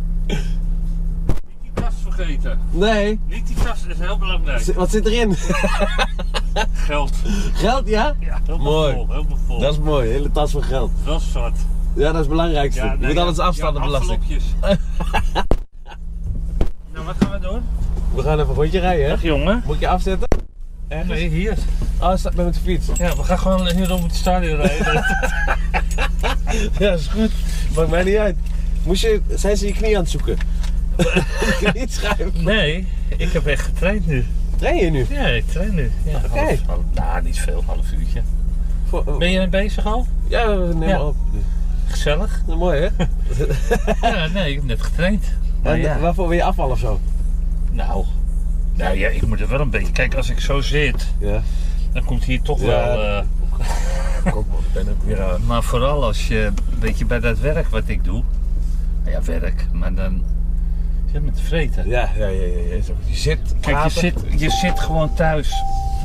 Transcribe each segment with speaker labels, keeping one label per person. Speaker 1: Niet die tas vergeten.
Speaker 2: Nee.
Speaker 1: Niet die tas, dat is heel belangrijk.
Speaker 2: Z- Wat zit erin?
Speaker 1: Geld.
Speaker 2: Geld, ja?
Speaker 1: Ja, helemaal
Speaker 2: Mooi.
Speaker 1: vol. Helemaal vol.
Speaker 2: Dat is mooi, hele tas van geld.
Speaker 1: wel zwart.
Speaker 2: Ja, dat is het belangrijkste.
Speaker 1: Ja,
Speaker 2: je
Speaker 1: nee,
Speaker 2: moet
Speaker 1: ja,
Speaker 2: alles afstaan
Speaker 1: ja,
Speaker 2: op belasting.
Speaker 1: envelopjes. nou, wat gaan we doen?
Speaker 2: We gaan even een rondje rijden, hè?
Speaker 1: Dag jongen.
Speaker 2: Moet ik je afzetten?
Speaker 1: Nee, hier.
Speaker 2: Oh, staat bij met de fiets.
Speaker 1: Ja, we gaan gewoon hier rond het stadion rijden.
Speaker 2: Ja, is goed. Maakt mij niet uit. Moest je, zijn ze je knie aan het zoeken? niet schuiven.
Speaker 1: nee, ik heb echt getraind nu.
Speaker 2: Train je nu?
Speaker 1: Ja, ik train nu. Ja,
Speaker 2: Oké.
Speaker 1: half- half- nou, niet veel, half uurtje.
Speaker 2: Voor- oh.
Speaker 1: Ben je bezig al?
Speaker 2: Ja, we nemen
Speaker 1: Ja.
Speaker 2: op.
Speaker 1: Gezellig.
Speaker 2: Dat is mooi, hè?
Speaker 1: Ja, nee, ik heb net getraind. Maar
Speaker 2: En,
Speaker 1: ja.
Speaker 2: eh, Waarvoor wil je afvallen of zo?
Speaker 1: Nou, nou ja, ik moet er wel een beetje. Kijk, als ik zo zit,
Speaker 2: Ja.
Speaker 1: dan komt hier toch
Speaker 2: Ja.
Speaker 1: wel. eh,
Speaker 2: Kom man, ik ben ook weer aan.
Speaker 1: Maar vooral als je, weet je, bij dat werk wat ik doe. nou Ja, werk, maar dan zit met vreten.
Speaker 2: Ja, ja, ja, ja. ja. Zo, Je zit.
Speaker 1: Kijk, je
Speaker 2: praten.
Speaker 1: zit, je zit gewoon thuis.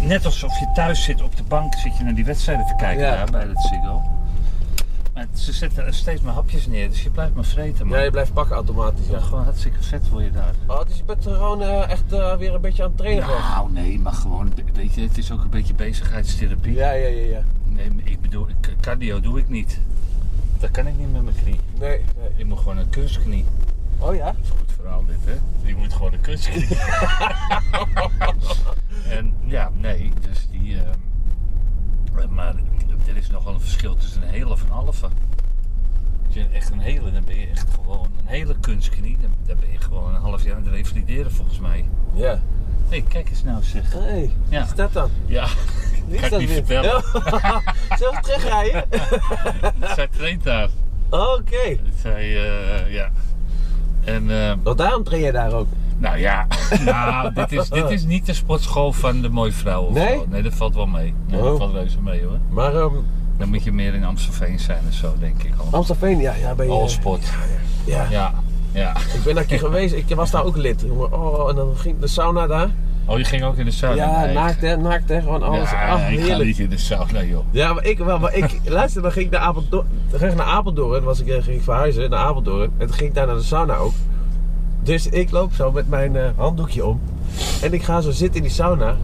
Speaker 1: Net alsof je thuis zit op de bank, zit je naar die wedstrijden te kijken
Speaker 2: Ja.
Speaker 1: daar bij dat Ziggo. Maar ze zetten er steeds maar hapjes neer, dus je blijft maar vreten, man.
Speaker 2: Ja, je blijft pakken automatisch, ja.
Speaker 1: Gewoon hartstikke vet word je daar.
Speaker 2: Oh, dus je bent gewoon eh, echt eh, weer een beetje aan het trainen geweest.
Speaker 1: Nou, nee, maar gewoon, weet je, het is ook een beetje bezigheidstherapie.
Speaker 2: Ja, ja, ja, ja.
Speaker 1: Nee, maar ik bedoel, ik- cardio doe ik niet. Dat kan ik niet met mijn knie.
Speaker 2: Nee, nee.
Speaker 1: Ik moet gewoon een kunstknie.
Speaker 2: Oh ja?
Speaker 1: Goed verhaal dit, hè? Ik moet gewoon een kunstknie. en ja, nee, dus die... eh, maar er is nogal een verschil tussen een hele of een halve. Als je echt een hele, dan ben je echt gewoon een hele kunstknie. Dan, dan ben je gewoon een half jaar aan het revalideren, volgens mij.
Speaker 2: Ja.
Speaker 1: Hé, kijk eens nou zeg.
Speaker 2: Hé, hey,
Speaker 1: Ja.
Speaker 2: is dat dan?
Speaker 1: Ja,
Speaker 2: Wie
Speaker 1: Kan
Speaker 2: is
Speaker 1: ik
Speaker 2: dat
Speaker 1: niet
Speaker 2: weer?
Speaker 1: vertellen.
Speaker 2: Zelf terugrijden?
Speaker 1: zij traint daar.
Speaker 2: Oké.
Speaker 1: Zij, eh, ja. En... eh,
Speaker 2: Want daarom train je daar ook.
Speaker 1: Nou ja, nou, dit, is, dit is niet de sportschool van de mooie vrouwen. of
Speaker 2: Nee?
Speaker 1: zo. nee, dat valt wel mee. Nee, Dat
Speaker 2: Oh.
Speaker 1: valt reuze mee hoor.
Speaker 2: Maar ehm
Speaker 1: Dan moet je meer in Amstelveen zijn of zo, denk ik. al.
Speaker 2: Amstelveen, ja, Oh, ja, ben je...
Speaker 1: All sport.
Speaker 2: Ja.
Speaker 1: Ja, ja.
Speaker 2: Ik ben daar een keer geweest, ik was daar ook lid. jongen. Oh, en dan ging de sauna daar.
Speaker 1: Oh, je ging ook in de sauna?
Speaker 2: ja,
Speaker 1: Nee, ik-
Speaker 2: naakt hè, naakt hè, gewoon alles.
Speaker 1: Ja,
Speaker 2: Ah,
Speaker 1: ik ga
Speaker 2: heerlijk.
Speaker 1: niet in de sauna, joh.
Speaker 2: Ja, maar ik wel. Maar ik, luister, dan ging ik naar Apeldoorn. Dan ging ik naar Apeldoorn, was ik, eh, ging ik verhuizen naar Apeldoorn. En toen ging ik daar naar de sauna ook. Dus ik loop zo met mijn eh, handdoekje om. En ik ga zo zitten in die sauna.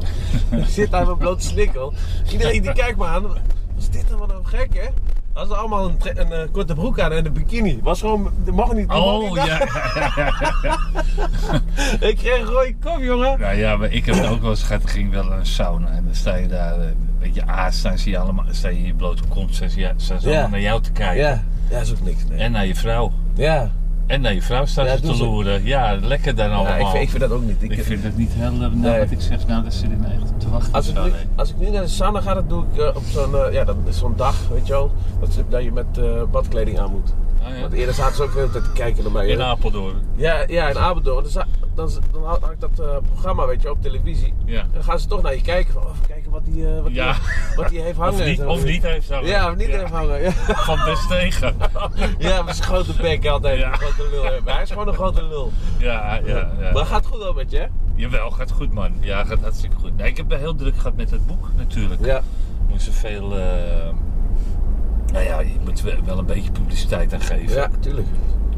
Speaker 2: ik zit daar met blote snikkel. Iedereen die kijkt me aan. Wat is dit dan wat nou gek, hè? Hadden ze allemaal een, tre- een eh, korte broek aan en een bikini. Was gewoon, dat mag niet. dat mag
Speaker 1: Oh,
Speaker 2: niet.
Speaker 1: ja.
Speaker 2: Ik kreeg een rode kop, jongen.
Speaker 1: Nou ja, maar ik heb het ook wel eens gehad. Er ging wel een sauna en dan sta je daar eh, een beetje aas. Dan zie je allemaal, sta je in je blote kont. Staan ze ja, staan ze
Speaker 2: Ja.
Speaker 1: allemaal naar jou te kijken.
Speaker 2: Ja, ja, is ook niks, nee.
Speaker 1: En naar je vrouw.
Speaker 2: Ja,
Speaker 1: En naar je vrouw staat
Speaker 2: Ja,
Speaker 1: ze
Speaker 2: doen
Speaker 1: te
Speaker 2: ze.
Speaker 1: loeren. Ja, lekker dan
Speaker 2: ja
Speaker 1: allemaal.
Speaker 2: ik, vind, ik vind dat ook niet. Ik-
Speaker 1: Oh. Ik vind het niet heel eh, nou,
Speaker 2: Nee.
Speaker 1: wat ik zeg, nou dat zit ik me echt op te wachten.
Speaker 2: Als ik,
Speaker 1: zo,
Speaker 2: nu,
Speaker 1: nee.
Speaker 2: als ik nu naar de sauna ga, dan doe ik eh, op zo'n eh, ja, dat is zo'n dag, weet je wel, dat, ze- dat je met eh, badkleding aan moet.
Speaker 1: Ah, ja.
Speaker 2: Want eerder zaten ze ook de hele tijd te kijken naar mij.
Speaker 1: In
Speaker 2: hè.
Speaker 1: Apeldoorn.
Speaker 2: ja, ja, in Apeldoorn. Dan, za- dan, z- dan had had ik dat eh, programma, weet je, op televisie.
Speaker 1: Ja.
Speaker 2: Dan gaan ze toch naar je kijken, van, oh, even kijken wat die, eh, wat die-
Speaker 1: Ja.
Speaker 2: wat die heeft hangen.
Speaker 1: Of niet,
Speaker 2: Zo.
Speaker 1: of niet heeft ze
Speaker 2: Ja, of niet heeft hangen. Ja,
Speaker 1: Van best tegen.
Speaker 2: ja met zijn grote bek altijd,
Speaker 1: Ja.
Speaker 2: een grote lul. hè. Maar hij is gewoon een grote lul.
Speaker 1: Ja, ja,
Speaker 2: Maar
Speaker 1: ja.
Speaker 2: gaat goed wel met je, hè?
Speaker 1: Jawel, gaat goed man. Ja, gaat hartstikke goed. Nee, ik heb heel druk gehad met het boek natuurlijk.
Speaker 2: Ja.
Speaker 1: Moest er veel... eh, nou ja, je moet wel wel een beetje publiciteit aan geven.
Speaker 2: Ja, tuurlijk.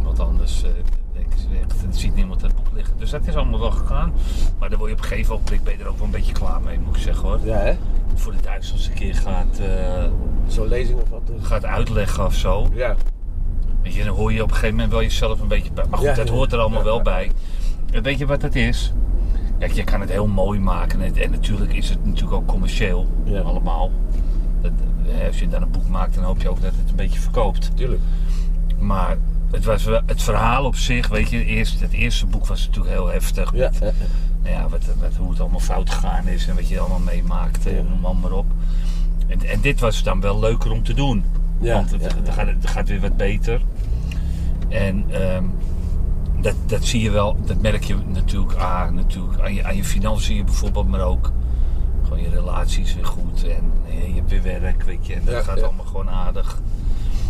Speaker 1: Want anders eh, denken ze echt, het ziet niemand het boek liggen. Dus dat is allemaal wel gegaan. Maar dan word je op een gegeven moment ben je er ook wel een beetje klaar mee, moet ik zeggen hoor.
Speaker 2: Ja, hè?
Speaker 1: Voor de duizendste keer gaat... eh,
Speaker 2: Zo'n lezing of wat. dus.
Speaker 1: gaat uitleggen of zo.
Speaker 2: Ja.
Speaker 1: Weet je, dan hoor je op een gegeven moment wel jezelf een beetje bij. Maar goed,
Speaker 2: Ja,
Speaker 1: dat
Speaker 2: ja,
Speaker 1: hoort er allemaal
Speaker 2: ja,
Speaker 1: wel
Speaker 2: ja.
Speaker 1: bij. En weet je wat het is? Kijk, je kan het heel mooi maken. En, en natuurlijk is het natuurlijk ook commercieel.
Speaker 2: Ja.
Speaker 1: Allemaal. Dat, hè, als je dan een boek maakt, dan hoop je ook dat het een beetje verkoopt.
Speaker 2: Tuurlijk.
Speaker 1: Maar het, was wel, het verhaal op zich, weet je, eerst, het eerste boek was natuurlijk heel heftig.
Speaker 2: Ja. ja, ja.
Speaker 1: Nou ja, wat, wat, hoe het allemaal fout gegaan is en wat je allemaal meemaakt en
Speaker 2: Ja.
Speaker 1: noem maar, maar op. En, en dit was dan wel leuker om te doen.
Speaker 2: Ja,
Speaker 1: want het,
Speaker 2: ja,
Speaker 1: het
Speaker 2: ja.
Speaker 1: gaat, het gaat weer wat beter. En ehm, dat, dat zie je wel, dat merk je natuurlijk, ah, natuurlijk aan, je, aan je financiën bijvoorbeeld, maar ook gewoon je relaties weer goed. En eh, je hebt weer werk, weet je, en dat
Speaker 2: Ja,
Speaker 1: gaat
Speaker 2: ja.
Speaker 1: allemaal gewoon aardig.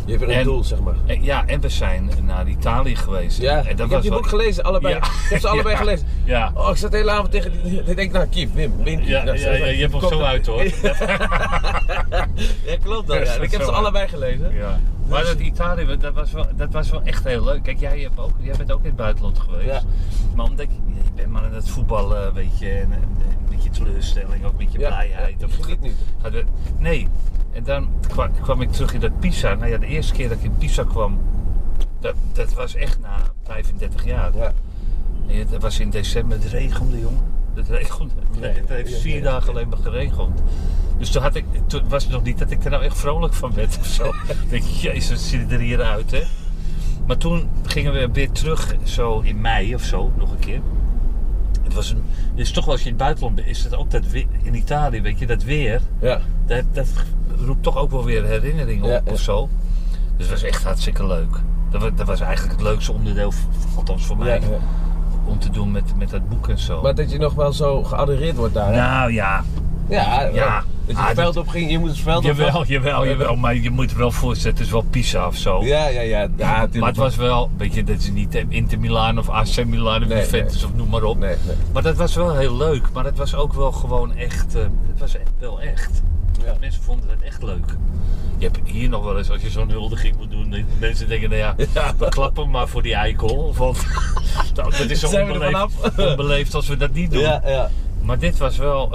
Speaker 2: Je hebt weer een
Speaker 1: En-
Speaker 2: doel, zeg maar.
Speaker 1: En, ja, en we zijn naar Italië geweest.
Speaker 2: Ja,
Speaker 1: en
Speaker 2: ik heb je
Speaker 1: wel-
Speaker 2: boek gelezen, allebei.
Speaker 1: Ja.
Speaker 2: Ik heb ze allebei
Speaker 1: Ja.
Speaker 2: gelezen.
Speaker 1: Ja.
Speaker 2: Oh, ik zat de hele avond tegen die... Ik denk, nou, Kiep, Wim, Wim.
Speaker 1: Ja, ja, ja, je hebt hem zo uit hoor.
Speaker 2: Ja, klopt. klopt wel. Ja. Ik heb ze allebei gelezen.
Speaker 1: Ja.
Speaker 2: Dus-
Speaker 1: Maar dat Italië, dat was, wel, dat was wel echt heel leuk. Kijk, jij, hebt ook, jij bent ook in het buitenland geweest.
Speaker 2: Ja.
Speaker 1: Maar omdat je, je bent maar aan het voetballen, weet je, en, en een beetje teleurstelling, ook met je
Speaker 2: Ja,
Speaker 1: blijheid.
Speaker 2: ja, ik
Speaker 1: Of
Speaker 2: geniet niet.
Speaker 1: gaat het- Nou, nee, en dan kwam, kwam ik terug in dat Pisa. Nou ja, de eerste keer dat ik in Pisa kwam, dat, dat was echt na 35 jaar.
Speaker 2: Ja.
Speaker 1: En het was in december, het regende jongen. Het regende.
Speaker 2: Ja,
Speaker 1: het
Speaker 2: ja,
Speaker 1: heeft
Speaker 2: ja,
Speaker 1: vier
Speaker 2: ja.
Speaker 1: dagen alleen maar geregend. Dus toen, had ik, toen was het nog niet dat ik er nou echt vrolijk van werd of zo. Ik denk, jezus, wat ziet het er hier uit, hè? Maar toen gingen we weer terug, zo in mei of zo, nog een keer. Het was een, het is toch wel als je in het buitenland bent, is het ook dat weer, in Italië, weet je, dat weer,
Speaker 2: Ja.
Speaker 1: dat, dat roept toch ook wel weer herinneringen op
Speaker 2: Ja, ja.
Speaker 1: of zo. Dus het was echt hartstikke leuk. Dat was, dat was eigenlijk het leukste onderdeel, althans voor
Speaker 2: Ja,
Speaker 1: mij,
Speaker 2: ja.
Speaker 1: om te doen met, met dat boek en zo.
Speaker 2: Maar dat je nog wel zo geadoreerd wordt daar. hè?
Speaker 1: nou ja,
Speaker 2: ja,
Speaker 1: ja.
Speaker 2: Dat je
Speaker 1: Ah,
Speaker 2: het veld
Speaker 1: dat-
Speaker 2: op ging, je moet het veld op.
Speaker 1: jawel, jawel, jawel. Maar je moet er wel voorstellen, het is wel Pisa of zo.
Speaker 2: Ja, ja, ja. ja tuurlijk.
Speaker 1: maar het was wel, weet je, dat is niet eh, Inter Milaan of AC Milaan of
Speaker 2: Nee,
Speaker 1: Juventus of noem maar op.
Speaker 2: Nee, nee.
Speaker 1: Maar dat was wel heel leuk. Maar het was ook wel gewoon echt, eh, het was echt wel echt.
Speaker 2: Ja.
Speaker 1: Mensen vonden het echt leuk. Je hebt hier nog wel eens, als je zo'n huldiging moet doen, dat mensen denken, nou ja,
Speaker 2: Ja.
Speaker 1: we klappen maar voor die eikel. Want dat is zo
Speaker 2: Zijn we er
Speaker 1: onbeleefd,
Speaker 2: vanaf?
Speaker 1: onbeleefd als we dat niet doen.
Speaker 2: Ja, ja.
Speaker 1: Maar dit was wel, eh,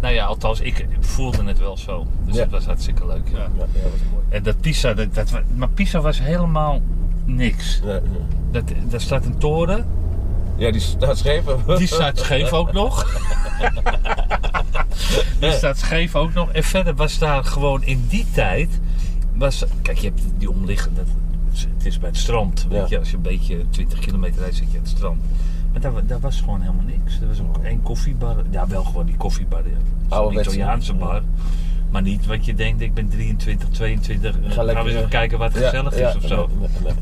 Speaker 1: nou ja, althans, ik voelde het wel zo. Dus
Speaker 2: Ja.
Speaker 1: het was hartstikke leuk. Ja.
Speaker 2: Ja, ja, dat was mooi.
Speaker 1: En dat Pisa, dat, dat, wa- maar Pisa was helemaal niks.
Speaker 2: Nee, nee.
Speaker 1: Dat, daar staat een toren,
Speaker 2: Ja, die staat scheef.
Speaker 1: die staat scheef ook nog. die staat scheef ook nog. En verder was daar gewoon in die tijd, was, kijk, je hebt die omliggende, het is- het is bij het strand, weet
Speaker 2: Ja.
Speaker 1: je, als je een beetje 20 kilometer rijdt, zit je aan het strand. Maar daar, wa- daar was gewoon helemaal niks. Er was ook één koffiebar. Ja, wel gewoon die koffiebar. ja. Zo'n
Speaker 2: Ouderwetse.
Speaker 1: Italiaanse bar. Maar niet wat je denkt, ik ben 23, 22, eh, gaan we eens even kijken wat gezellig is of zo.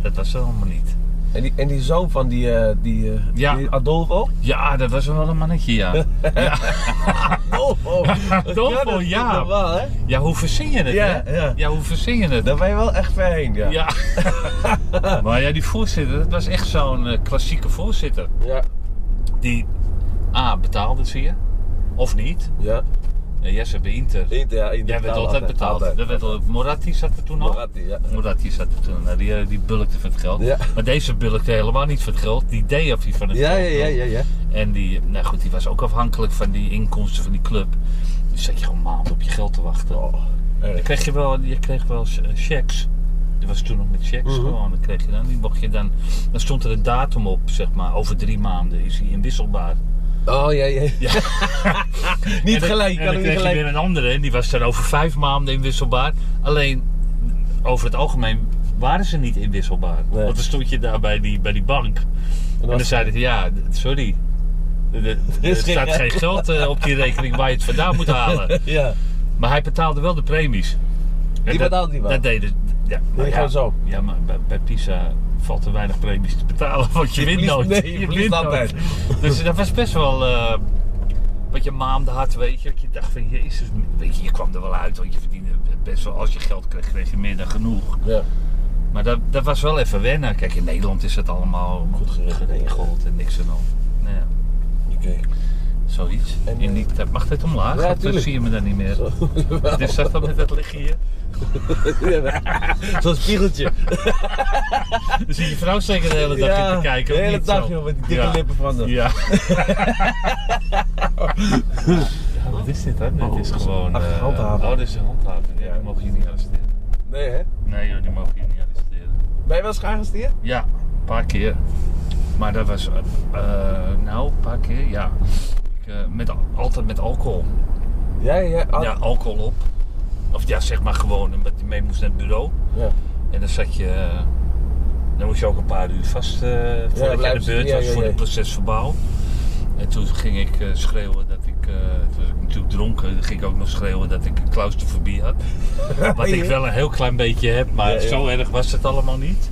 Speaker 1: Dat was er helemaal niet.
Speaker 2: En, die, en die zoon van die, eh, die, eh,
Speaker 1: Ja.
Speaker 2: die Adolfo?
Speaker 1: Ja, dat was wel een mannetje, ja.
Speaker 2: Adolfo!
Speaker 1: Oh, Adolfo,
Speaker 2: dat is
Speaker 1: ja.
Speaker 2: niet normaal, hè?
Speaker 1: Ja, hoe verzin je het,
Speaker 2: Ja,
Speaker 1: hè?
Speaker 2: ja.
Speaker 1: hoe verzin je het?
Speaker 2: Daar ben je wel echt ver heen, ja.
Speaker 1: Ja. maar ja, die voorzitter, dat was echt zo'n eh, klassieke voorzitter.
Speaker 2: Ja.
Speaker 1: Die A, betaalde, zie je. Of niet.
Speaker 2: Ja.
Speaker 1: Ja, jij zat bij Inter.
Speaker 2: In- ja, in-
Speaker 1: Jij werd altijd betaald.
Speaker 2: Altijd.
Speaker 1: Dat werd al, Moratti zat er toen al.
Speaker 2: Moratti, ja.
Speaker 1: Moratti zat er toen. Nou, die, eh, die bulkte van het geld.
Speaker 2: Ja.
Speaker 1: Maar deze bulkte helemaal niet van het geld. Die deed of hij van het
Speaker 2: Ja,
Speaker 1: geld.
Speaker 2: ja, ja, ja, ja.
Speaker 1: En die, nou goed, die was ook afhankelijk van die inkomsten van die club. Dus zat je gewoon maanden op je geld te wachten.
Speaker 2: Oh,
Speaker 1: Dan
Speaker 2: erg.
Speaker 1: kreeg je wel, je kreeg wel eens, eh, checks. Dat was toen nog met checks
Speaker 2: Mhm.
Speaker 1: gewoon. Dan kreeg je dan, die mocht je dan, dan stond er een datum op, zeg maar. Over drie maanden is hij inwisselbaar.
Speaker 2: Oh, ja, ja. niet
Speaker 1: En dan-
Speaker 2: gelijk, je
Speaker 1: en
Speaker 2: kan
Speaker 1: dan
Speaker 2: hem niet
Speaker 1: kreeg je weer
Speaker 2: gelijk.
Speaker 1: een andere en die was dan over vijf maanden inwisselbaar. Alleen, over het algemeen waren ze niet inwisselbaar.
Speaker 2: Nee.
Speaker 1: Want dan stond je daar bij die, bij die bank. En dan
Speaker 2: was-
Speaker 1: zeiden ze, ja, d- sorry. Er- Er
Speaker 2: Er
Speaker 1: er
Speaker 2: is geen
Speaker 1: staat
Speaker 2: geld.
Speaker 1: geen geld eh, op die rekening waar je het vandaan moet halen.
Speaker 2: Ja.
Speaker 1: Maar hij betaalde wel de premies. En
Speaker 2: Die
Speaker 1: dat-
Speaker 2: betaalde hij wel?
Speaker 1: Dat deden ja, maar
Speaker 2: Nee,
Speaker 1: ja,
Speaker 2: gewoon zo.
Speaker 1: Ja, maar bij, bij Pisa valt er weinig premies te betalen, want je,
Speaker 2: Je
Speaker 1: wint
Speaker 2: verliest-
Speaker 1: nooit.
Speaker 2: nee, je verliest
Speaker 1: nooit.
Speaker 2: altijd.
Speaker 1: Dus dat was best wel eh, een beetje maandenhard, weet je. Dat je dacht van, jezus, weet je, je kwam er wel uit, want je verdiende best wel, als je geld kreeg, kreeg je meer dan genoeg.
Speaker 2: Ja.
Speaker 1: Maar dat, dat was wel even wennen. Kijk, in Nederland is het allemaal goed
Speaker 2: geregeld.
Speaker 1: geregeld en niks aan de hand. Nou ja,
Speaker 2: Oké.
Speaker 1: zoiets.
Speaker 2: En,
Speaker 1: In die,
Speaker 2: eh,
Speaker 1: tijd mag dit omlaag?
Speaker 2: Ja,
Speaker 1: Dat
Speaker 2: tuurlijk.
Speaker 1: zie je me dan niet meer.
Speaker 2: Zo.
Speaker 1: Dit staat dan met dat liggen hier.
Speaker 2: Zo'n spiegeltje.
Speaker 1: Dan zie je vrouw zeker de hele dag
Speaker 2: Ja,
Speaker 1: in te kijken.
Speaker 2: de
Speaker 1: of
Speaker 2: hele
Speaker 1: niet
Speaker 2: dag,
Speaker 1: zo?
Speaker 2: joh, met die dikke
Speaker 1: Ja.
Speaker 2: lippen van hem.
Speaker 1: Ja. ja. Wat is dit, hè? dit is gewoon...
Speaker 2: Oh, Ach,
Speaker 1: eh,
Speaker 2: handhaving.
Speaker 1: Oh, dit is een handhaving. Ja, die mogen je niet arresteren.
Speaker 2: Nee, hè?
Speaker 1: Nee joh, die mogen je niet arresteren.
Speaker 2: Ben je wel eens gearresteerd?
Speaker 1: Ja, een paar keer. Maar dat was... eh, eh, nou, een paar keer, ja. Ik, eh, met, al- altijd met alcohol.
Speaker 2: Ja, ja, ja.
Speaker 1: Ja, alcohol op. Of ja, zeg maar gewoon, omdat je mee moest naar het bureau.
Speaker 2: ja.
Speaker 1: En dan zat je. eh, Dan moest je ook een paar uur vast eh voordat je aan
Speaker 2: blijf-
Speaker 1: de beurt
Speaker 2: ja,
Speaker 1: was
Speaker 2: ja,
Speaker 1: voor
Speaker 2: ja.
Speaker 1: het proces verbouw. En toen ging ik eh, schreeuwen dat ik. eh, toen was ik natuurlijk dronken, dan ging ik ook nog schreeuwen dat ik claustrofobie had. Wat ik wel een heel klein beetje heb, maar
Speaker 2: Ja, ja.
Speaker 1: zo erg was het allemaal niet.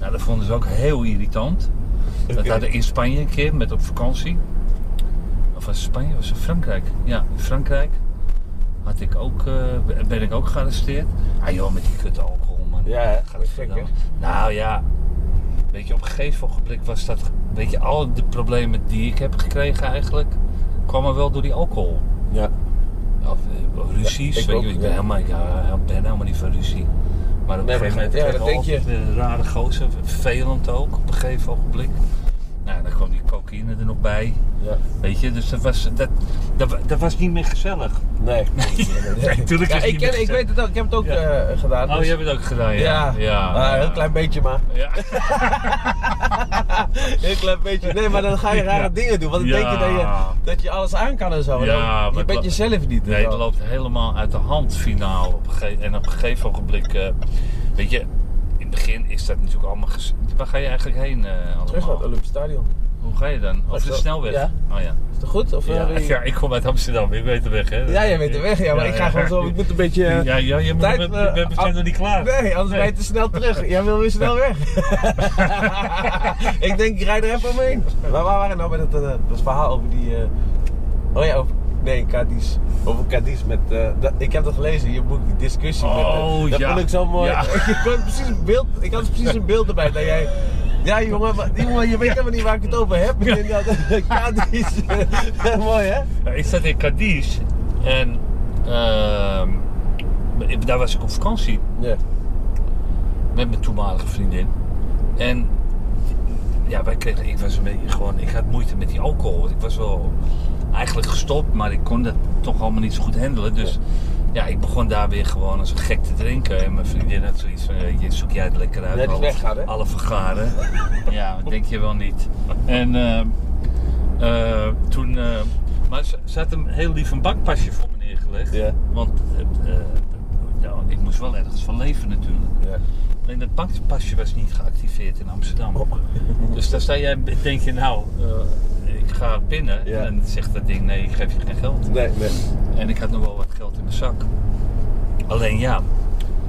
Speaker 1: Nou, dat vonden ze ook heel irritant. Dat
Speaker 2: Oké.
Speaker 1: hadden in Spanje een keer met op vakantie. Of was het Spanje? Was het Frankrijk? Ja, in Frankrijk had ik ook, eh, ben ik ook gearresteerd. Ah joh, met die kutte alcohol man.
Speaker 2: Ja, hè?
Speaker 1: Gaat het
Speaker 2: Gek,
Speaker 1: verder. Nou ja, weet je, op een gegeven ogenblik was dat, weet je, al de problemen die ik heb gekregen eigenlijk, kwamen wel door die alcohol.
Speaker 2: Ja.
Speaker 1: Of, eh, ruzies.
Speaker 2: Ja,
Speaker 1: weet
Speaker 2: ik
Speaker 1: je,
Speaker 2: ook,
Speaker 1: ik,
Speaker 2: ja.
Speaker 1: ben helemaal, ik hou- ben helemaal niet van ruzie. Maar op
Speaker 2: Nee,
Speaker 1: een gegeven
Speaker 2: maar-
Speaker 1: moment
Speaker 2: ja,
Speaker 1: werd
Speaker 2: dat denk je.
Speaker 1: altijd een rare gozer, vervelend ook op een gegeven ogenblik. Nou, dan kwam die cocaïne er nog bij.
Speaker 2: Ja.
Speaker 1: Weet je, dus dat was, dat, dat, wa- dat was niet meer gezellig.
Speaker 2: Nee.
Speaker 1: tuurlijk
Speaker 2: Ja,
Speaker 1: is het
Speaker 2: ik,
Speaker 1: niet
Speaker 2: ken,
Speaker 1: meer
Speaker 2: ik weet het ook, ik heb het ook
Speaker 1: Ja.
Speaker 2: eh, gedaan.
Speaker 1: Oh,
Speaker 2: dus-
Speaker 1: je hebt het ook gedaan, ja.
Speaker 2: ja, maar een heel klein beetje maar.
Speaker 1: Ja.
Speaker 2: Heel klein beetje. Nee, maar dan ga je rare
Speaker 1: Ja.
Speaker 2: dingen doen. Want dan denk je dat, je
Speaker 1: Ja.
Speaker 2: dat je alles aan kan en zo. En
Speaker 1: Ja,
Speaker 2: dan-
Speaker 1: maar
Speaker 2: je
Speaker 1: het
Speaker 2: bent
Speaker 1: lo-
Speaker 2: jezelf niet. en
Speaker 1: Nee,
Speaker 2: zo.
Speaker 1: het loopt helemaal uit de hand finaal. Op een gege- en op een gegeven ogenblik, eh, weet je, in het begin is dat natuurlijk allemaal... gez- Waar ga je eigenlijk heen eh, allemaal?
Speaker 2: Terug naar het Olympisch Stadion.
Speaker 1: Hoe ga je dan?
Speaker 2: Als
Speaker 1: Over de
Speaker 2: dat-
Speaker 1: snelweg?
Speaker 2: ja.
Speaker 1: Oh ja.
Speaker 2: Is dat goed? Of, eh,
Speaker 1: Ja,
Speaker 2: wil je-
Speaker 1: ja, ik kom uit Amsterdam, ik weet de weg, hè?
Speaker 2: Ja, jij weet de weg, ja, maar
Speaker 1: Ja,
Speaker 2: ik ga
Speaker 1: ja.
Speaker 2: gewoon zo. Ik moet een beetje.
Speaker 1: Ja,
Speaker 2: eh,
Speaker 1: ja, je moet,
Speaker 2: tijd,
Speaker 1: we,
Speaker 2: eh,
Speaker 1: we zijn
Speaker 2: af-
Speaker 1: nog niet klaar.
Speaker 2: Nee, anders ben je te snel terug. Jij wil weer snel weg. ik denk, ik rij er even omheen. Maar waar waren we nou met het, eh, dat verhaal over die. eh, oh ja, over. Nee, Cadiz. Over Cadiz met. eh, dat- ik heb dat gelezen in je boek, die discussie. met, eh,
Speaker 1: Oh,
Speaker 2: dat
Speaker 1: ja.
Speaker 2: vond ik zo mooi.
Speaker 1: Ja.
Speaker 2: Ik, had precies een beeld, ik had precies een beeld erbij dat jij. Ja jongen, maar, jongen, je weet helemaal niet waar ik het over heb. Ik denk dat- eh, Cadiz. eh, mooi hè?
Speaker 1: Ja, Ik zat in Cadiz en ehm, ik- daar was ik op vakantie
Speaker 2: Ja.
Speaker 1: met mijn toenmalige vriendin. En ja, wij kregen, ik was een beetje gewoon, ik had moeite met die alcohol. want Ik was wel eigenlijk gestopt, maar ik kon dat toch allemaal niet zo goed handelen. Dus ja, ik begon daar weer gewoon als een gek te drinken. En mijn vriendin had zoiets van, weet je, zoek jij het lekker uit.
Speaker 2: Ja, die is
Speaker 1: alle-
Speaker 2: weggaan, hè?
Speaker 1: Alle vergaren. ja, dat denk je wel niet. En ehm, eh, toen, eh, maar ze, ze had hem heel lief een bankpasje voor me neergelegd.
Speaker 2: Ja.
Speaker 1: Want eh, eh, ja, ik moest wel ergens van leven natuurlijk.
Speaker 2: ja.
Speaker 1: Alleen dat bankpasje was niet geactiveerd in Amsterdam.
Speaker 2: Oh,
Speaker 1: Dus dan sta jij, denk je nou, eh, ik ga pinnen.
Speaker 2: Ja.
Speaker 1: En dan zegt dat ding, nee, ik geef je geen geld.
Speaker 2: Nee, nee.
Speaker 1: En ik had nog wel wat geld in mijn zak. Alleen ja,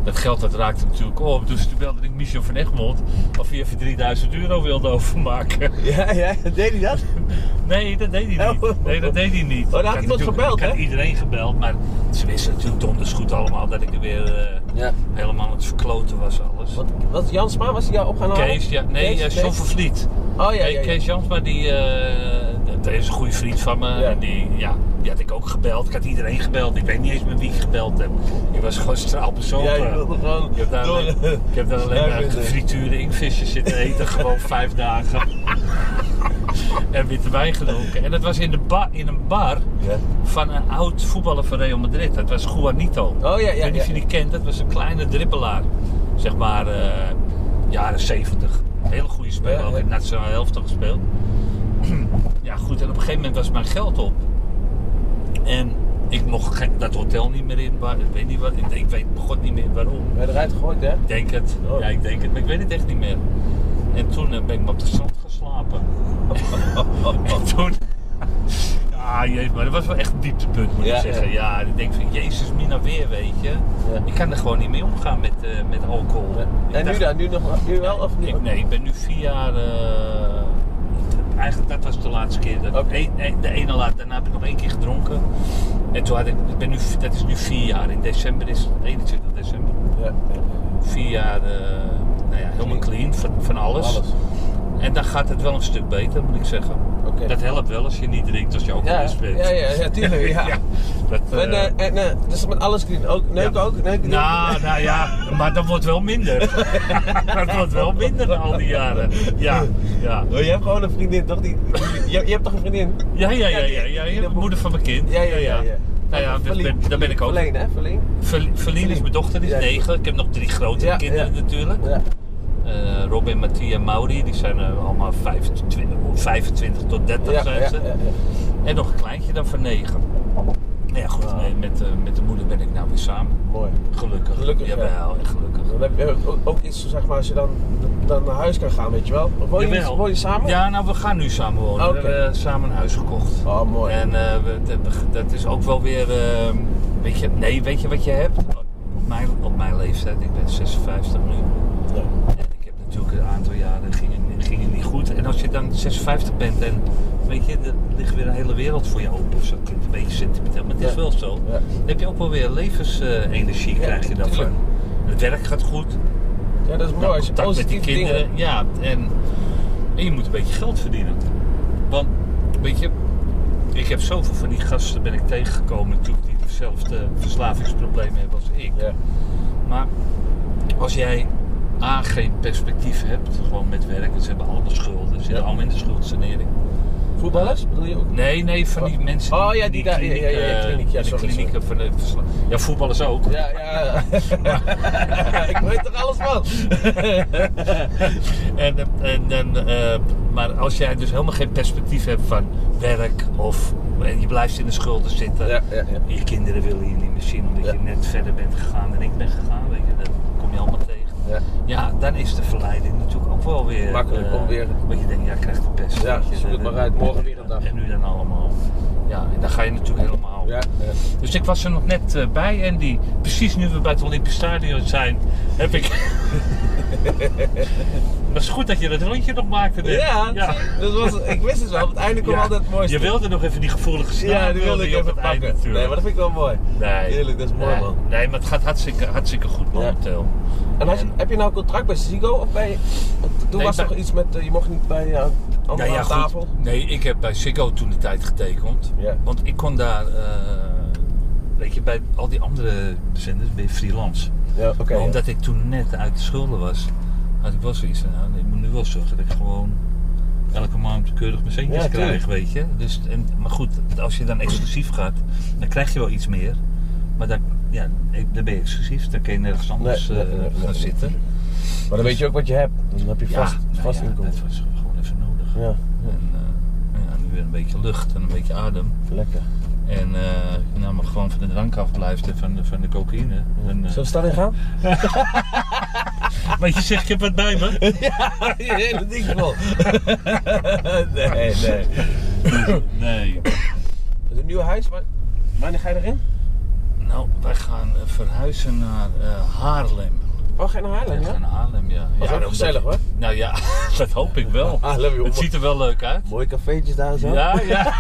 Speaker 1: dat geld dat raakte natuurlijk op. Dus toen belde ik Michel van Egmond of hij even 3000 euro wilde overmaken.
Speaker 2: Ja, ja, deed hij dat?
Speaker 1: Nee, dat deed hij niet. Nee, dat deed hij niet.
Speaker 2: Oh, daar had
Speaker 1: Ik
Speaker 2: iemand
Speaker 1: natuurlijk-
Speaker 2: gebeld,
Speaker 1: Ik had
Speaker 2: hè?
Speaker 1: iedereen gebeld, maar ze wisten natuurlijk donders goed allemaal dat ik er weer eh,
Speaker 2: Ja.
Speaker 1: helemaal aan het verkloten was alles.
Speaker 2: Wat, wat Jansma was hij jou op gaan halen?
Speaker 1: Kees, ja, nee,
Speaker 2: Kees,
Speaker 1: eh,
Speaker 2: Kees?
Speaker 1: John van Vliet.
Speaker 2: Oh ja,
Speaker 1: Hey,
Speaker 2: ja, ja.
Speaker 1: Kees Jansma, die, eh, dat is een goede vriend van me.
Speaker 2: Ja.
Speaker 1: En Die, ja, die had ik ook gebeld. Ik had iedereen gebeld. Ik weet niet eens met wie ik gebeld heb. Ik was gewoon straal
Speaker 2: Ja,
Speaker 1: bezopen.
Speaker 2: je wilde gewoon
Speaker 1: ik heb daar
Speaker 2: door.
Speaker 1: alleen, ik heb daar alleen maar
Speaker 2: Snuiven.
Speaker 1: frituurde inkvisjes zitten eten. gewoon vijf dagen. en witte wijn gedronken. En dat was in, de ba- in een bar
Speaker 2: Ja.
Speaker 1: van een oud voetballer van Real Madrid. Dat was Juanito.
Speaker 2: ja, Oh, ja,
Speaker 1: Ik weet niet of
Speaker 2: ja.
Speaker 1: je die kent. Dat was een kleine dribbelaar. Zeg maar eh, jaren 70. Hele goede speler.
Speaker 2: Ja, ja.
Speaker 1: Ook in de nationale helft al gespeeld. ja goed, en op een gegeven moment was mijn geld op. En ik mocht geen- dat hotel niet meer in. Waar, ik weet niet wat, ik, ik weet god niet meer waarom.
Speaker 2: Ben je eruit gegooid, hè?
Speaker 1: Ik denk het.
Speaker 2: Oh.
Speaker 1: Ja, ik denk het. Maar ik weet het echt niet meer. En toen eh, ben ik maar op de strand gaan slapen. En toen... Ah, jezus, maar dat was wel echt een dieptepunt, moet
Speaker 2: Ja,
Speaker 1: ik zeggen. Ja,
Speaker 2: ja.
Speaker 1: ik denk van, jezus, mina weer, weet je.
Speaker 2: Ja.
Speaker 1: Ik kan er gewoon niet mee omgaan met, eh, met alcohol. Ik
Speaker 2: En nu
Speaker 1: dacht-
Speaker 2: dan? Nu, nog, nu wel of nu?
Speaker 1: Ik, nee, ik ben nu vier jaar... eh, eigenlijk, dat was de laatste keer. Dat
Speaker 2: Oké.
Speaker 1: e- e- de ene laat, daarna heb ik nog één keer gedronken. En toen had ik, ik ben nu, dat is nu vier jaar. In december is 21 december
Speaker 2: Ja, ja,
Speaker 1: vier jaar eh, nou ja, helemaal clean van, van
Speaker 2: ja.
Speaker 1: alles.
Speaker 2: Alles.
Speaker 1: En dan gaat het wel een stuk beter, moet ik zeggen.
Speaker 2: Oké.
Speaker 1: Dat helpt wel als je niet drinkt als je ook
Speaker 2: Ja,
Speaker 1: bent.
Speaker 2: ja, ja, ja, tuurlijk, ja.
Speaker 1: dat,
Speaker 2: En,
Speaker 1: eh,
Speaker 2: eh, en eh, dus met alles clean. Ook, neuken
Speaker 1: ja.
Speaker 2: ook? Neuken
Speaker 1: nou, nou ja, maar dat wordt wel minder. dat wordt wel minder na al die jaren. Ja, ja.
Speaker 2: Oh, je hebt gewoon een vriendin, toch? Die, je, je hebt toch een vriendin?
Speaker 1: Ja, ja, ja, ja, ja,
Speaker 2: die- die
Speaker 1: ja,
Speaker 2: dat moet-
Speaker 1: moeder van mijn kind.
Speaker 2: Ja, ja, ja, ja.
Speaker 1: Nou ja, dat
Speaker 2: Verlien.
Speaker 1: ben, daar ben ik ook.
Speaker 2: Verleen, hè? Verleen?
Speaker 1: Ver- Verlien is mijn dochter, die is
Speaker 2: Ja.
Speaker 1: negen. Ik heb nog drie grotere
Speaker 2: Ja,
Speaker 1: kinderen
Speaker 2: ja.
Speaker 1: natuurlijk.
Speaker 2: Ja.
Speaker 1: Eh, Robin, Mattia en Mauri, die zijn eh, allemaal 25, 25 tot 30
Speaker 2: Ja,
Speaker 1: zijn
Speaker 2: ja,
Speaker 1: ze.
Speaker 2: ja, ja.
Speaker 1: En nog een kleintje dan van 9. Nou ja, goed,
Speaker 2: Ah.
Speaker 1: nee, met, eh, met de moeder ben ik nou weer samen.
Speaker 2: Mooi.
Speaker 1: Gelukkig.
Speaker 2: Gelukkig, ja.
Speaker 1: Jawel, echt gelukkig.
Speaker 2: Dan heb je ook- ook iets, zeg maar, als je dan, dan naar huis kan gaan, weet je wel. Of woon je,
Speaker 1: Jawel.
Speaker 2: woon je samen?
Speaker 1: Ja, nou, we gaan nu samen wonen.
Speaker 2: Oké.
Speaker 1: We hebben eh, samen een huis gekocht.
Speaker 2: Oh, mooi.
Speaker 1: En eh, we- dat- dat is ook wel weer. eh, weet je, nee, weet je wat je hebt? Op mijn, op mijn leeftijd, ik ben 56 nu.
Speaker 2: Ja.
Speaker 1: En ik heb natuurlijk een aantal jaren ging het, ging het niet goed. En als je dan 56 bent en weet je, er ligt weer een hele wereld voor je open. Of zo klinkt een beetje sentimenteel, maar het is
Speaker 2: Ja.
Speaker 1: wel zo.
Speaker 2: Ja.
Speaker 1: Dan heb je ook wel weer levensenergie, krijg je daarvan.
Speaker 2: tuurlijk.
Speaker 1: Het werk gaat goed,
Speaker 2: Ja, dat is mooi.
Speaker 1: nou,
Speaker 2: Als je
Speaker 1: contact met die
Speaker 2: positieve
Speaker 1: kinderen.
Speaker 2: dingen...
Speaker 1: Ja, en, en je moet een beetje geld verdienen. Want, weet je, Ik heb zoveel van die gasten ben ik tegengekomen toen die hetzelfde verslavingsprobleem hebben als ik.
Speaker 2: Ja.
Speaker 1: Maar als jij A, geen perspectief hebt, gewoon met werk, want ze hebben allemaal schulden, ze zitten
Speaker 2: Ja.
Speaker 1: allemaal in de schuldsanering.
Speaker 2: Voetballers bedoel je ook?
Speaker 1: Nee, nee, van die
Speaker 2: Oh.
Speaker 1: mensen die,
Speaker 2: Oh, ja, die daar- ja, ja, ja,
Speaker 1: eh,
Speaker 2: kliniek, ja,
Speaker 1: de
Speaker 2: sorry, sorry.
Speaker 1: klinieken van de versla- Ja, voetballers ook.
Speaker 2: Ja, ja. ik weet er alles van.
Speaker 1: En, eh, en, en, eh, maar als jij dus helemaal geen perspectief hebt van werk of en je blijft in de schulden zitten.
Speaker 2: Ja, ja, ja.
Speaker 1: Je kinderen willen je niet meer zien omdat
Speaker 2: Ja.
Speaker 1: je net verder bent gegaan dan ik ben gegaan. Weet je, dat kom je allemaal tegen.
Speaker 2: Ja.
Speaker 1: Ja, dan is de verleiding natuurlijk ook wel weer...
Speaker 2: Makkelijk om
Speaker 1: eh,
Speaker 2: weer-
Speaker 1: Want je denkt, ja, ik krijg de pest.
Speaker 2: Ja,
Speaker 1: weet je,
Speaker 2: zoek het
Speaker 1: en-
Speaker 2: maar uit, morgen weer een dag.
Speaker 1: En nu dan allemaal. Ja, en dan ga je natuurlijk helemaal...
Speaker 2: Ja, ja.
Speaker 1: Dus ik was er nog net eh, bij en die, precies nu we bij het Olympisch Stadion zijn, heb ik. Het is goed dat je dat rondje nog maakte. net.
Speaker 2: Ja, Dat was, ik wist het wel. Op het einde kwam
Speaker 1: Ja.
Speaker 2: altijd het mooiste.
Speaker 1: Je wilde nog even die gevoelige snaar.
Speaker 2: Ja, die wilde ik
Speaker 1: je op
Speaker 2: even
Speaker 1: het eind
Speaker 2: pakken. Nee,
Speaker 1: natuurlijk.
Speaker 2: maar dat vind ik wel mooi.
Speaker 1: Nee.
Speaker 2: Eerlijk, dat is mooi,
Speaker 1: nee.
Speaker 2: man.
Speaker 1: Nee, maar het gaat hartstikke, hartstikke goed momenteel.
Speaker 2: En had je- heb je nou contract bij Ziggo of bij... want Toen
Speaker 1: Nee,
Speaker 2: was
Speaker 1: bij-
Speaker 2: toch iets met... eh, je mocht niet bij eh andere aan tafel?
Speaker 1: Nee, ik heb bij Ziggo toen de tijd getekend.
Speaker 2: Ja.
Speaker 1: Want ik kon daar, eh, weet je, bij al die andere zenders ben je freelance.
Speaker 2: Ja, oké.
Speaker 1: Maar
Speaker 2: ja.
Speaker 1: omdat ik toen net uit de schulden was, had ik wel zoiets van, nou, ik moet nu wel zorgen dat ik gewoon elke maand keurig mijn centjes
Speaker 2: Ja, tuurlijk.
Speaker 1: krijg, weet je. Dus, en, maar goed, als je dan exclusief gaat, dan krijg je wel iets meer. Maar dan, ja, ik- dan ben je exclusief, dan kun je nergens anders
Speaker 2: nee,
Speaker 1: eh,
Speaker 2: nee, nee,
Speaker 1: gaan
Speaker 2: nee.
Speaker 1: zitten.
Speaker 2: Maar dan weet je ook wat je hebt. Dan heb je
Speaker 1: Ja,
Speaker 2: vast,
Speaker 1: nou
Speaker 2: vast
Speaker 1: ja,
Speaker 2: inkomen.
Speaker 1: dat was gewoon even nodig.
Speaker 2: Ja,
Speaker 1: En eh, ja, nu weer een beetje lucht en een beetje adem.
Speaker 2: lekker.
Speaker 1: En eh, nou, maar gewoon van de drank afblijft en van de, van de cocaïne. En, eh,
Speaker 2: Zullen we de stad in gaan?
Speaker 1: Want je zegt, ik heb wat bij me.
Speaker 2: Ja, Ah, je hele ding vol. nee, nee.
Speaker 1: Nee.
Speaker 2: Het een nieuw huis, maar wanneer ga je erin?
Speaker 1: Nou, wij gaan eh, verhuizen naar eh, Haarlem.
Speaker 2: Oh, ga je naar Haarlem,
Speaker 1: Wij gaan
Speaker 2: ja? Oh,
Speaker 1: naar Haarlem, ja.
Speaker 2: Dat is
Speaker 1: ja,
Speaker 2: ook gezellig, hoor.
Speaker 1: Nou ja, dat hoop ik wel.
Speaker 2: Haarlem, joh.
Speaker 1: Het ziet er wel leuk uit.
Speaker 2: Mooie cafeetjes daar en zo.
Speaker 1: Ja, ja.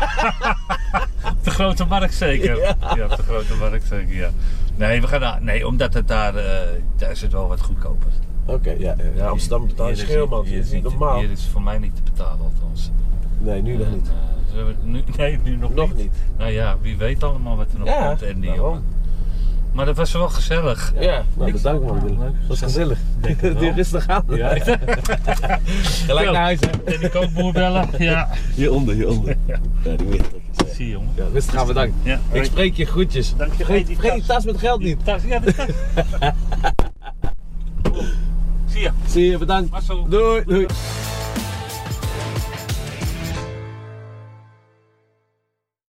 Speaker 1: Op de grote markt zeker. Ja. op de grote markt zeker, ja. Nee, we gaan naar, nee omdat het daar, eh, daar is het wel wat goedkoper.
Speaker 2: Oké, ja, ja, ja. Amsterdam betaalt een
Speaker 1: Hier is
Speaker 2: schil,
Speaker 1: niet-
Speaker 2: man.
Speaker 1: hier
Speaker 2: Dat is niet
Speaker 1: te-
Speaker 2: normaal.
Speaker 1: Hier is voor mij niet te betalen, althans.
Speaker 2: Nee, nu nog niet.
Speaker 1: En, eh, zullen we- nu, nee, nu nog,
Speaker 2: Nog niet.
Speaker 1: Nou ja, wie weet allemaal wat er nog
Speaker 2: Ja, nou
Speaker 1: komt. En die
Speaker 2: daarom.
Speaker 1: jongen. Maar dat was wel gezellig.
Speaker 2: Ja, nou
Speaker 1: Ik-
Speaker 2: bedankt man.
Speaker 1: Ja,
Speaker 2: Willem.
Speaker 1: leuk.
Speaker 2: Dat was gezellig.
Speaker 1: Denk het wel.
Speaker 2: Die rustig aan. Gelijk
Speaker 1: Zo.
Speaker 2: naar huis, hè.
Speaker 1: En die kookboer bellen. Ja.
Speaker 2: Hieronder, hieronder. Ja, die weet ik.
Speaker 1: Zie je, jongen.
Speaker 2: Ja, dus rustig aan, bedankt.
Speaker 1: Ja.
Speaker 2: Ik spreek je groetjes.
Speaker 1: Dank je. Hey,
Speaker 2: Vergeet,
Speaker 1: die
Speaker 2: vergeet
Speaker 1: tas.
Speaker 2: die tas met geld niet.
Speaker 1: Tas, ja, de tas. Zie je.
Speaker 2: Zie je, bedankt.
Speaker 1: é. Marcel.
Speaker 2: Doei, doei.